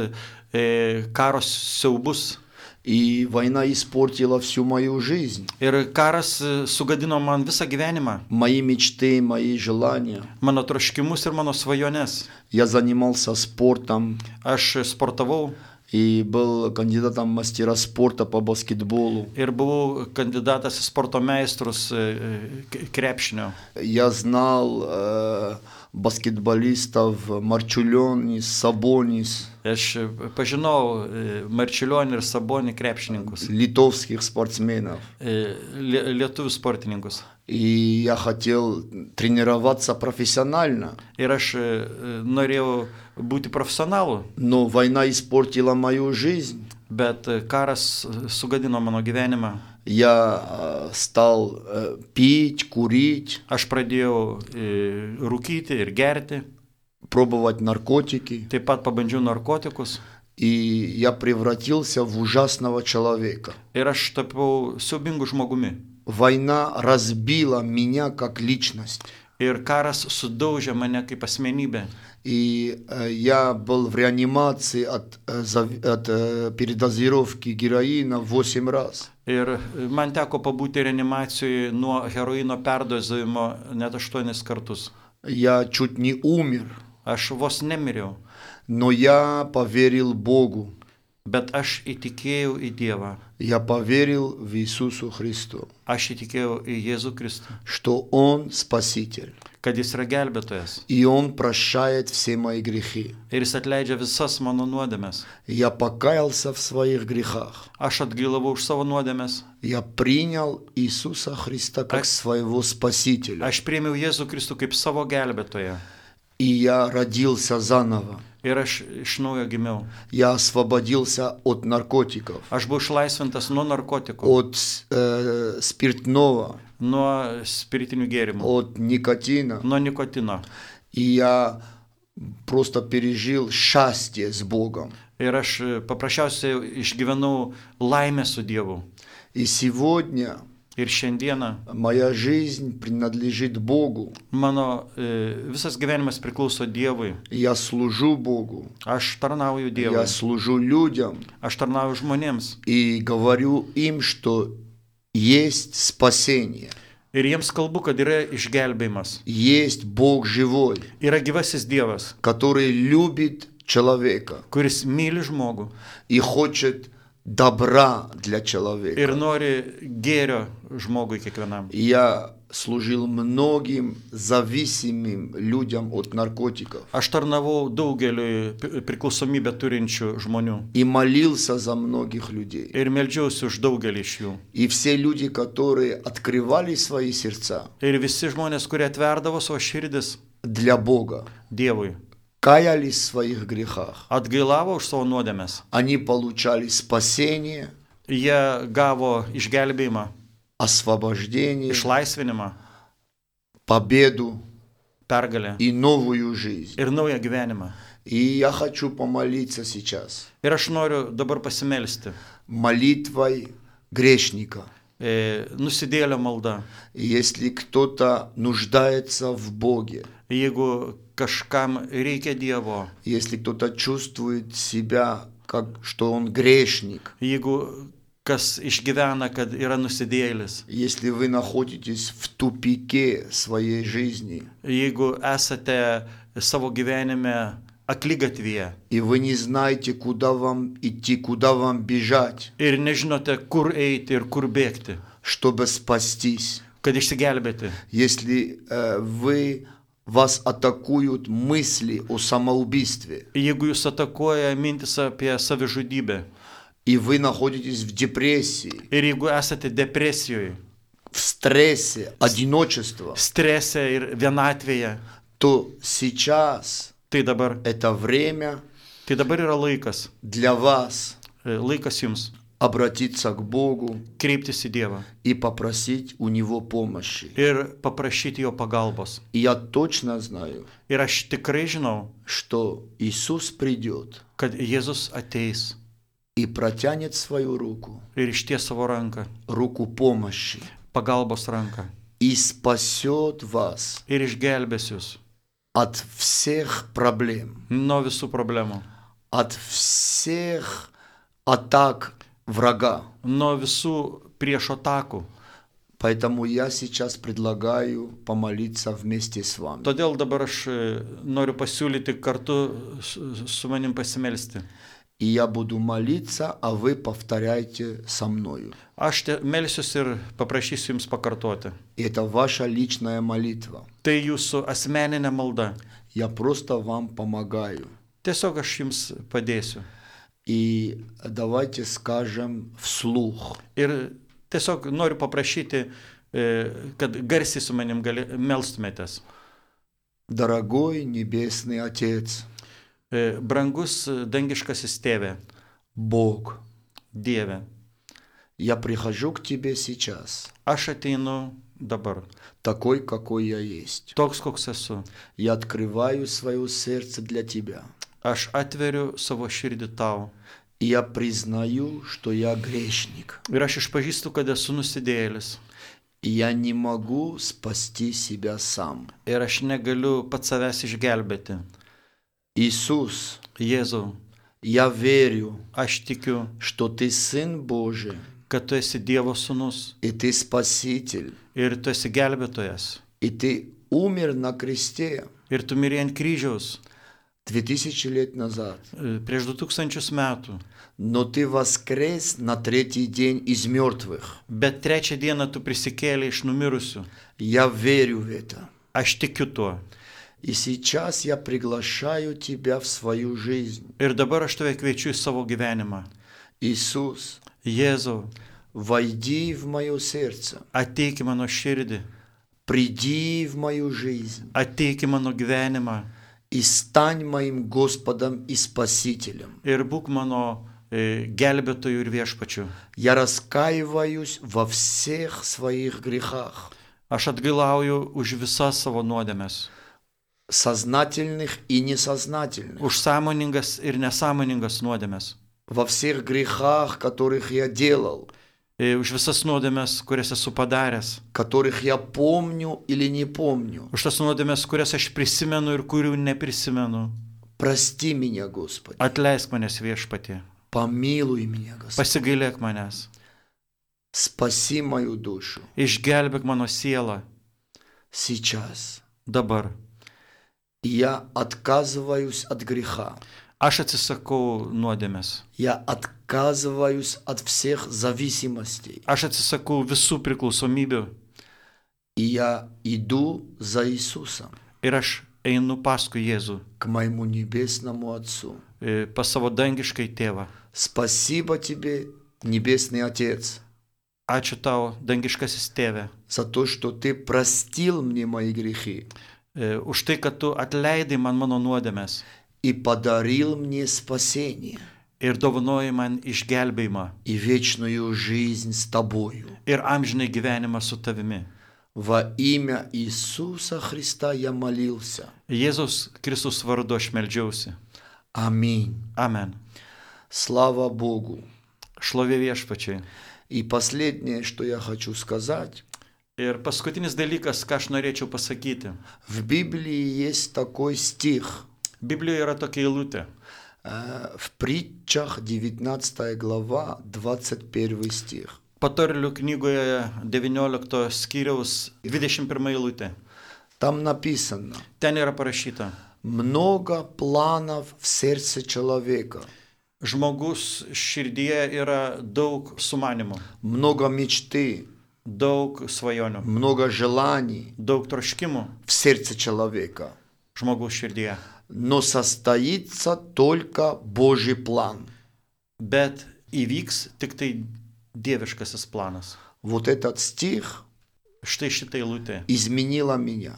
Speaker 1: e, karos siaubus.
Speaker 2: И война испортила всю мою жизнь,
Speaker 1: Ir karas e, sugadino man visą gyvenimą,
Speaker 2: мои мечты, мои желания.
Speaker 1: mano troškimus ir mano svajones.
Speaker 2: Я занимался спортом
Speaker 1: Aš sportavau
Speaker 2: и был кандидатом в мастера спорта по баскетболу.
Speaker 1: ir buvau kandidatas į sporto meistrus e, e, k- krepšinio.
Speaker 2: Я знал э, баскетболистов Марчулионис, Сабонис,
Speaker 1: Aš e, pažinau e, Marčiulionį ir Sabonį krepšininkus,
Speaker 2: литовских спортсменов.
Speaker 1: e, lie- lietuvių sportininkus.
Speaker 2: И я хотел тренироваться профессионально,
Speaker 1: Ir aš e, e, norėjau būti profesionalu,
Speaker 2: но война испортила мою жизнь.
Speaker 1: bet e, karas e, sugadino mano gyvenimą.
Speaker 2: Я э, стал э, пить, курить,
Speaker 1: Aš pradėjau e, rūkyti ir gerti,
Speaker 2: пробовать наркотики.
Speaker 1: taip pat pabandžiau narkotikus
Speaker 2: И я превратился в ужасного человека.
Speaker 1: ir aš tapau siubingu žmogumi.
Speaker 2: Война разбила меня как личность.
Speaker 1: ir karas sudaužė mane kaip asmenybę.
Speaker 2: И э, я был в реанимации от, э, зав- от э, передозировки героина 8 раз.
Speaker 1: Ir man teko pabūti reanimacijoje nuo heroino perdozavimo net aštuonis kartus.
Speaker 2: Я чуть не умер,
Speaker 1: Aš vos nemiriau,
Speaker 2: но я поверил Богу.
Speaker 1: bet aš įtikėjau į Dievą,
Speaker 2: Я поверил в Иисусу Христу,
Speaker 1: aš įtikėjau į Jėzų Kristų,
Speaker 2: что Он Спаситель,
Speaker 1: kad Jis yra gelbėtojas
Speaker 2: и Он прощает все мои грехи.
Speaker 1: ir Jis atleidžia visas mano nuodėmes.
Speaker 2: Я покаялся в своих грехах.
Speaker 1: Aš atgailavau už savo nuodėmes,
Speaker 2: Я принял Иисуса Христа как
Speaker 1: А-
Speaker 2: своего Спасителя.
Speaker 1: aš priėmiau Jėzų Kristų kaip savo gelbėtoją
Speaker 2: И я родился заново.
Speaker 1: ir aš iš naujo gimiau.
Speaker 2: Я освободился от наркотиков,
Speaker 1: Aš buvau išlaisvintas nuo narkotikų,
Speaker 2: от э, спиртного,
Speaker 1: nuo spiritinių gėrimų,
Speaker 2: от никотина.
Speaker 1: nuo nikotino.
Speaker 2: И я просто пережил счастье с Богом.
Speaker 1: Ir aš e, paprasčiausiai išgyvenau laimę su Dievu.
Speaker 2: И сегодня
Speaker 1: Ir šiandieną
Speaker 2: моя жизнь принадлежит Богу.
Speaker 1: mano e, visas gyvenimas priklauso Dievui.
Speaker 2: Я служу Богу.
Speaker 1: Aš tarnauju Dievui,
Speaker 2: Я служу людям
Speaker 1: aš tarnauju žmonėms.
Speaker 2: и говорю им, что есть спасение,
Speaker 1: Ir jiems kalbu, kad yra išgelbėjimas.
Speaker 2: есть Бог живой,
Speaker 1: Yra gyvasis Dievas,
Speaker 2: который любит человека
Speaker 1: kuris myli žmogų
Speaker 2: и хочет добра для человека.
Speaker 1: ir nori gėrio žmogui kiekvienam.
Speaker 2: Я служил многим зависимым людям от наркотиков
Speaker 1: Aš tarnavau daugeliu priklausomybę turinčių žmonių
Speaker 2: и молился за многих людей.
Speaker 1: ir melžiausi už daugelį iš jų.
Speaker 2: И все люди, которые открывали свои сердца
Speaker 1: Ir visi žmonės, kurie atverdavo savo širdis
Speaker 2: для Бога,
Speaker 1: Dievui,
Speaker 2: каялись в своих грехах,
Speaker 1: atgailavo už savo nuodėmes,
Speaker 2: они получали спасение,
Speaker 1: jie gavo išgelbėjimą,
Speaker 2: освобождение,
Speaker 1: išlaisvinimą,
Speaker 2: победу
Speaker 1: pergalę
Speaker 2: и новую жизнь.
Speaker 1: ir naują gyvenimą.
Speaker 2: И я хочу помолиться сейчас
Speaker 1: Ir aš noriu dabar pasimelsti.
Speaker 2: молитвой грешника.
Speaker 1: E, nusidėlio malda.
Speaker 2: И Если кто-то нуждается в Боге,
Speaker 1: Jeigu kažkam reikia Dievo,
Speaker 2: если кто-то чувствует себя, как, что он грешник,
Speaker 1: jeigu kas išgyvena, kad yra nusidėlis,
Speaker 2: если вы находитесь в тупике своей жизни,
Speaker 1: jeigu esate savo gyvenime aklygatvėje
Speaker 2: и вы не знаете, куда вам идти, куда вам бежать,
Speaker 1: ir nežinote, kur eiti ir kur bėgti,
Speaker 2: чтобы спастись,
Speaker 1: kad išsigelbėti,
Speaker 2: если э, вы, вас атакуют мысли о самоубийстве,
Speaker 1: jeigu jūs atakuoja mintis apie savižudybę
Speaker 2: и вы находитесь в депрессии,
Speaker 1: ir jeigu esate depresijoje,
Speaker 2: в стрессе, одиночество,
Speaker 1: strese ir vienatvėje,
Speaker 2: то сейчас
Speaker 1: tai dabar,
Speaker 2: это время
Speaker 1: tai dabar yra laikas,
Speaker 2: для вас
Speaker 1: e, laikas jums
Speaker 2: обратиться к Богу
Speaker 1: kreiptis į Dievą
Speaker 2: и попросить у Него помощи.
Speaker 1: ir paprašyti jo pagalbos.
Speaker 2: И я точно знаю,
Speaker 1: Ir aš tikrai žinau,
Speaker 2: что Иисус придет
Speaker 1: kad Jėzus ateis
Speaker 2: и протянет свою руку,
Speaker 1: ir išties savo ranką,
Speaker 2: руку помощи,
Speaker 1: pagalbos ranką
Speaker 2: и спасет вас
Speaker 1: ir išgelbės jūs
Speaker 2: от всех проблем,
Speaker 1: nuo visų problemų,
Speaker 2: от всех атак врага.
Speaker 1: nuo visų priešo atakų.
Speaker 2: Поэтому я сейчас предлагаю помолиться вместе с вами.
Speaker 1: Todėl dabar aš e, noriu pasiūlyti kartu su, su manim pasimelsti.
Speaker 2: И я буду молиться, а вы повторяйте со мною.
Speaker 1: Aš te melsiuosi ir paprašysiu jums pakartoti.
Speaker 2: И это ваша личная молитва.
Speaker 1: Tai jūsų asmeninė malda.
Speaker 2: Я просто вам помогаю.
Speaker 1: Tiesiog aš jums padėsiu.
Speaker 2: И давайте скажем вслух.
Speaker 1: Ir tiesiog noriu paprašyti, e, kad garsiai su manim gali, melstumėtės.
Speaker 2: Дорогой Небесный Отец,
Speaker 1: E, Brangus e, dangiškasis tėve,
Speaker 2: Бог,
Speaker 1: Dieve,
Speaker 2: я прихожу к Тебе сейчас,
Speaker 1: aš ateinu dabar,
Speaker 2: такой, какой я есть.
Speaker 1: toks koks esu.
Speaker 2: Я открываю свое сердце для Тебя.
Speaker 1: Aš atveriu savo širdį tau.
Speaker 2: И я признаю, что я грешник.
Speaker 1: Ir aš išpažįstu, kad esu nusidėjėlis.
Speaker 2: я не могу спасти себя сам.
Speaker 1: ir aš negaliu pats savęs išgelbėti.
Speaker 2: Иисус,
Speaker 1: Jėzau,
Speaker 2: я верю,
Speaker 1: aš tikiu,
Speaker 2: что Ты Сын Божий,
Speaker 1: kad tu esi Dievo sūnus
Speaker 2: и Ты Спаситель,
Speaker 1: ir tu esi gelbėtojas.
Speaker 2: и Ты умер на кресте
Speaker 1: Ir tu mirėjai ant kryžiaus
Speaker 2: две тысячи лет назад,
Speaker 1: e, prieš 2000 metų,
Speaker 2: но Ты воскрес на третий день из мертвых.
Speaker 1: bet trečią dieną tu prisikėlė iš numirusių.
Speaker 2: Я верю в это.
Speaker 1: Aš tikiu tuo.
Speaker 2: И сейчас я приглашаю Тебя в свою жизнь.
Speaker 1: Ir dabar aš tave kviečiu į savo gyvenimą.
Speaker 2: Иисус,
Speaker 1: Jėzau,
Speaker 2: войди в мое сердце,
Speaker 1: ateik į mano širdį,
Speaker 2: приди в мою жизнь
Speaker 1: ateik į mano gyvenimą
Speaker 2: и стань моим Господом и Спасителем.
Speaker 1: ir būk mano e, gelbėtoju ir viešpačiu.
Speaker 2: Я раскаиваюсь во всех своих грехах,
Speaker 1: Aš atgailauju už visas savo nuodėmes,
Speaker 2: сознательных и несознательных,
Speaker 1: už sąmoningas ir nesąmoningas nuodėmes,
Speaker 2: во всех грехах, которых я делал,
Speaker 1: e, už visas nuodėmes, kurias esu padaręs,
Speaker 2: которых я помню или не помню.
Speaker 1: už tas nuodėmes, kurias aš prisimenu ir kurių neprisimenu.
Speaker 2: Прости меня, Господи.
Speaker 1: А- Atleisk manęs viešpatį,
Speaker 2: Помилуй меня, Господи.
Speaker 1: pasigailėk manęs,
Speaker 2: Спаси мою душу
Speaker 1: išgelbėk mano sielą
Speaker 2: сейчас.
Speaker 1: dabar.
Speaker 2: Я отказываюсь от греха.
Speaker 1: Aš atsisakau nuodėmes,
Speaker 2: Я отказываюсь от всех зависимостей.
Speaker 1: aš atsisakau visų priklausomybių
Speaker 2: И я иду за Иисусом
Speaker 1: ir aš einu paskui Jėzų,
Speaker 2: к моему небесному Отцу.
Speaker 1: e, pas savo dangiškai tėvą.
Speaker 2: Спасибо тебе, Небесный Отец,
Speaker 1: Ačiū tau, dangiškasis tėve,
Speaker 2: за то, что ты простил мне мои грехи
Speaker 1: e, už tai, kad tu atleidai man mano nuodėmes
Speaker 2: и подарил мне спасение
Speaker 1: ir dovanoji man išgelbėjimą
Speaker 2: и вечную жизнь с тобою.
Speaker 1: ir amžinai gyvenimą su tavimi.
Speaker 2: Во имя Иисуса Христа я молился.
Speaker 1: Jėzaus Kristus vardu aš melžiausi.
Speaker 2: Аминь.
Speaker 1: Amen.
Speaker 2: Слава Богу.
Speaker 1: Šlovė viešpačiai.
Speaker 2: И последнее, что я хочу сказать.
Speaker 1: Ir paskutinis dalykas, ką aš norėčiau pasakyti.
Speaker 2: В Библии есть такой стих.
Speaker 1: Biblijoje yra tokia eilutė.
Speaker 2: э, В притчах 19 глава 21 стих.
Speaker 1: Patarlių knygoje 19 skyriaus 21 eilutė.
Speaker 2: Там написано,
Speaker 1: Ten yra parašyta,
Speaker 2: много планов в сердце человека,
Speaker 1: žmogus širdyje yra daug sumanimų,
Speaker 2: много мечты,
Speaker 1: daug svajonių,
Speaker 2: много желаний
Speaker 1: daug troškimų
Speaker 2: в сердце человека,
Speaker 1: žmogaus širdyje.
Speaker 2: но состоится только Божий план.
Speaker 1: Bet įvyks tik tai dieviškasis planas.
Speaker 2: Вот этот стих
Speaker 1: Štai šitą eilutę
Speaker 2: изменила меня.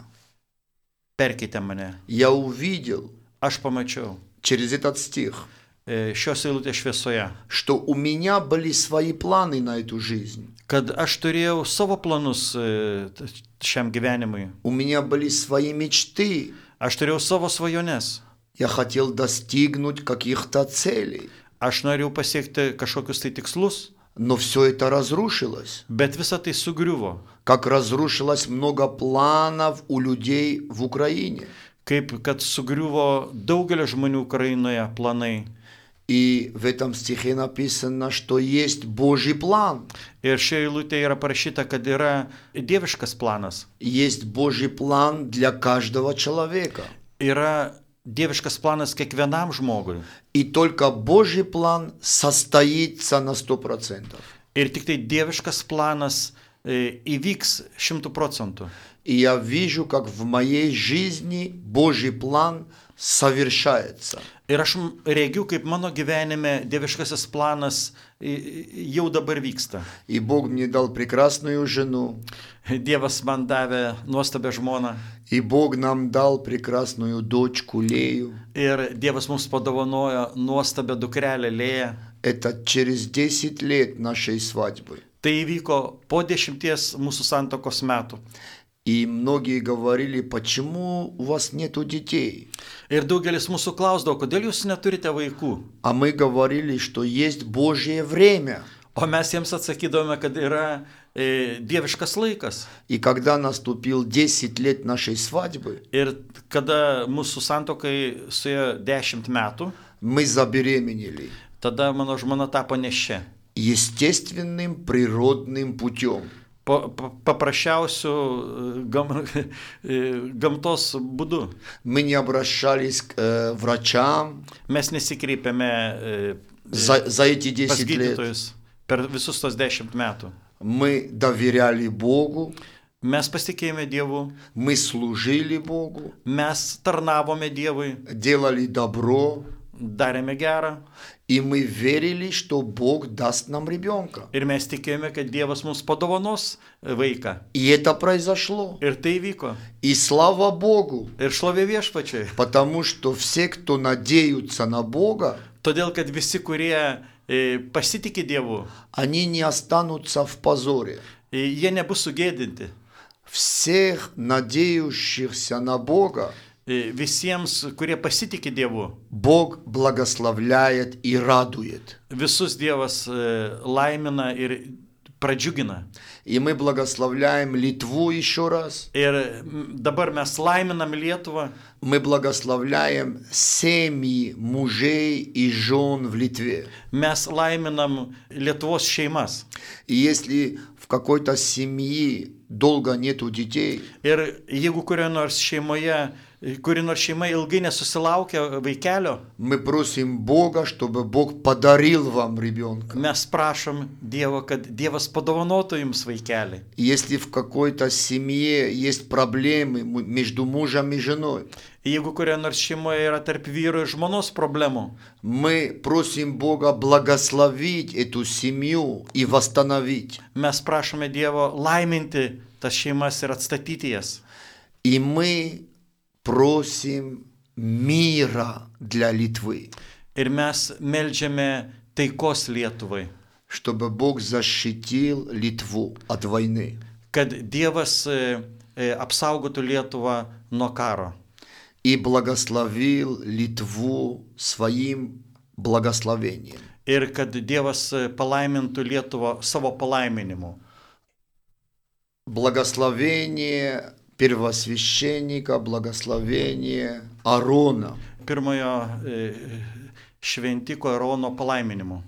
Speaker 1: perkeitė mane.
Speaker 2: Я увидел
Speaker 1: Aš pamačiau
Speaker 2: через этот стих,
Speaker 1: e, šios eilutės šviesoje,
Speaker 2: что у меня были свои планы на эту жизнь.
Speaker 1: kad aš turėjau savo planus e, t- šiam gyvenimui.
Speaker 2: У меня были свои мечты.
Speaker 1: Aš turėjau savo svajones.
Speaker 2: Я хотел достигнуть каких-то целей.
Speaker 1: Aš norėjau pasiekti kažkokius tai tikslus,
Speaker 2: Но все это разрушилось.
Speaker 1: bet visa tai sugriuvo.
Speaker 2: как разрушилось много планов у людей в Украине.
Speaker 1: Kaip kad sugriuvo daugelio žmonių Ukrainoje planai.
Speaker 2: И в этом стихе написано, что есть Божий план.
Speaker 1: Ir šioje eilutėje yra parašyta, kad yra dieviškas planas.
Speaker 2: Есть Божий план для каждого человека.
Speaker 1: Yra dieviškas planas kiekvienam žmogui.
Speaker 2: И только Божий план состоится на 100%.
Speaker 1: Ir tik tai dieviškas planas e, įvyks šimtų procentų.
Speaker 2: И я вижу, как в моей жизни Божий план совершается.
Speaker 1: Ir aš m- regiu, kaip mano gyvenime dieviškasis planas i- i- jau dabar vyksta.
Speaker 2: И Бог мне дал прекрасную жену,
Speaker 1: Dievas man davė nuostabią žmoną
Speaker 2: и Бог нам дал прекрасную дочку Лею.
Speaker 1: ir Dievas mums padovanojo nuostabią dukrelę Lėją.
Speaker 2: Это через 10 лет нашей свадьбы.
Speaker 1: Tai įvyko po dešimties mūsų santokos metų.
Speaker 2: И многие говорили, почему у вас нету детей?
Speaker 1: Ir daugelis mūsų klausdavo, kodėl jūs neturite vaikų.
Speaker 2: А мы говорили, что есть Божье время.
Speaker 1: O mes jiems atsakydavome, kad yra e, dieviškas laikas.
Speaker 2: И когда наступил 10 лет нашей свадьбы,
Speaker 1: Ir kada mūsų santokai suėjo 10 metų,
Speaker 2: мы забеременели
Speaker 1: tada mano žmona tapo nešia.
Speaker 2: естественным природным путем.
Speaker 1: Pa, pa, paprasčiausių e, gam, e, gamtos būdu.
Speaker 2: Мы не обращались к э, врачам
Speaker 1: Mes nesikreipėme e,
Speaker 2: за, за эти
Speaker 1: pas
Speaker 2: 10 лет.
Speaker 1: gydytojus per visus tos 10 metų.
Speaker 2: Мы доверяли Богу,
Speaker 1: Mes pasitikėjome Dievu,
Speaker 2: мы служили Богу,
Speaker 1: mes tarnavome Dievui,
Speaker 2: делали добро,
Speaker 1: darėme gerą
Speaker 2: и мы верили, что Бог даст нам ребенка.
Speaker 1: ir mes tikėjome, kad Dievas mums padovanos vaiką.
Speaker 2: И это произошло.
Speaker 1: Ir tai įvyko.
Speaker 2: И слава Богу,
Speaker 1: Ir šlovė viešpačiai.
Speaker 2: потому что все, кто надеются на Бога,
Speaker 1: Todėl, kad visi, kurie e, pasitikė Dievu,
Speaker 2: они не останутся в позоре.
Speaker 1: e, jie nebus sugėdinti.
Speaker 2: Всех надеющихся на Бога
Speaker 1: E, Visiems, kurie pasitikė Dievu,
Speaker 2: Бог благословляет и радует.
Speaker 1: visus Dievas e, laimina ir pradžiugina.
Speaker 2: И мы благословляем Литву еще раз.
Speaker 1: Ir m, dabar mes laiminam Lietuvą,
Speaker 2: Мы благословляем семьи мужей и жен в Литве.
Speaker 1: mes laiminam Lietuvos šeimas.
Speaker 2: И если в какой-то семье долго нету детей,
Speaker 1: Ir jeigu kurioje nors šeimoje, kuri nors šeima ilgai nesusilaukia vaikelio,
Speaker 2: мы просим Бога, чтобы Бог подарил вам ребенка.
Speaker 1: mes prašom Dievo, kad Dievas padovanotų jums vaikelį.
Speaker 2: Если в какой-то семье есть проблемы м- между мужем и женой,
Speaker 1: Jeigu kurioje nors šeimoje yra tarp vyro ir žmonos problemų,
Speaker 2: мы просим Бога благословить эту семью и восстановить.
Speaker 1: mes prašome Dievo laiminti tas šeimas ir atstatyti jas.
Speaker 2: И мы просим мира для Литвы,
Speaker 1: Ir mes melžiame taikos Lietuvai,
Speaker 2: чтобы Бог защитил Литву от войны.
Speaker 1: kad Dievas e, e, apsaugotų Lietuvą nuo karo
Speaker 2: и благословил Литву своим благословением.
Speaker 1: ir kad Dievas e, palaimintų Lietuvą savo palaiminimu.
Speaker 2: Благословение первосвященника, благословение Арона.
Speaker 1: Pirmojo e, šventiko Erono palaiminimu.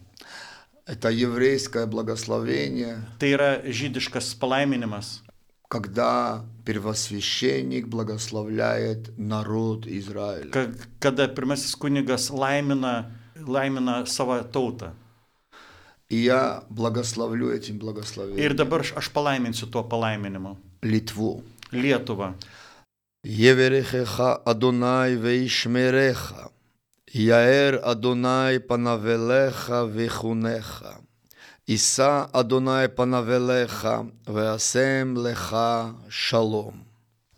Speaker 2: Это еврейское благословение,
Speaker 1: Tai yra žydiškas palaiminimas,
Speaker 2: когда первосвященник благословляет народ Израиля.
Speaker 1: ka- kada pirmasis kunigas laimina, laimina savo tautą.
Speaker 2: И я благословлю этим
Speaker 1: Ir
Speaker 2: благословением
Speaker 1: dabar aš- aš palaiminsiu tuo palaiminimu.
Speaker 2: Литву.
Speaker 1: Lietuvą.
Speaker 2: יברכך אדוני וישמרך, יאר אדוני פניו אליך ויחונך, יישא אדוני פניו אליך וישם לך שלום.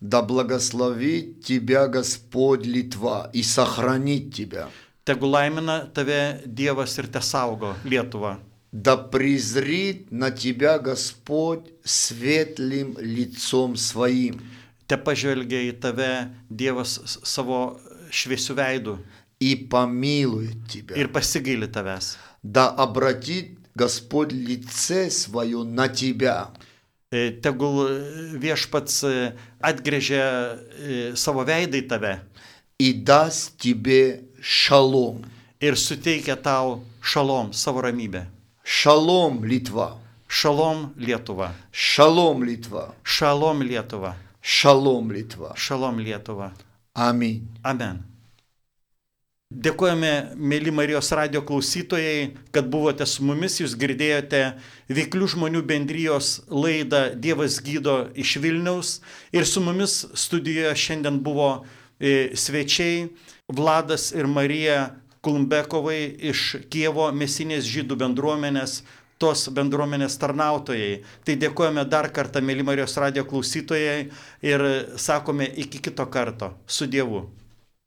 Speaker 2: Да благословит тебя Господь Литва и сохранит тебя.
Speaker 1: Tegu laimina tave Dievas ir te saugo Lietuvą.
Speaker 2: Да презрит на тебя Господь светлым лицом своим.
Speaker 1: Te pažvelgia į tave Dievas s- savo šviesių veidų
Speaker 2: и помилует тебя.
Speaker 1: ir pasigaili tavęs.
Speaker 2: Да обратит Господь лице свое на тебя
Speaker 1: E, Tegul e, viešpats e, atgręžia e, savo veidą į tave
Speaker 2: и даст тебе шалом.
Speaker 1: ir suteikia tau šalom savo ramybę.
Speaker 2: Шалом, Литва.
Speaker 1: Šalom Lietuva.
Speaker 2: Шалом, Литва.
Speaker 1: Šalom Lietuva.
Speaker 2: Шалом, Литва.
Speaker 1: Šalom Lietuva.
Speaker 2: Аминь.
Speaker 1: Amen. Dėkojame, mėly Marijos radio klausytojai, kad buvote su mumis, jūs girdėjote Vyklių žmonių bendrijos laidą Dievas gydo iš Vilniaus ir su mumis studijoje šiandien buvo e, svečiai Vladas ir Marija Kulmbekovai iš Kievo Mesinės žydų bendruomenės tos bendruomenės tarnautojai. Tai dėkojame dar kartą, mėly Marijos radio klausytojai ir sakome iki kito karto. Su Dievu.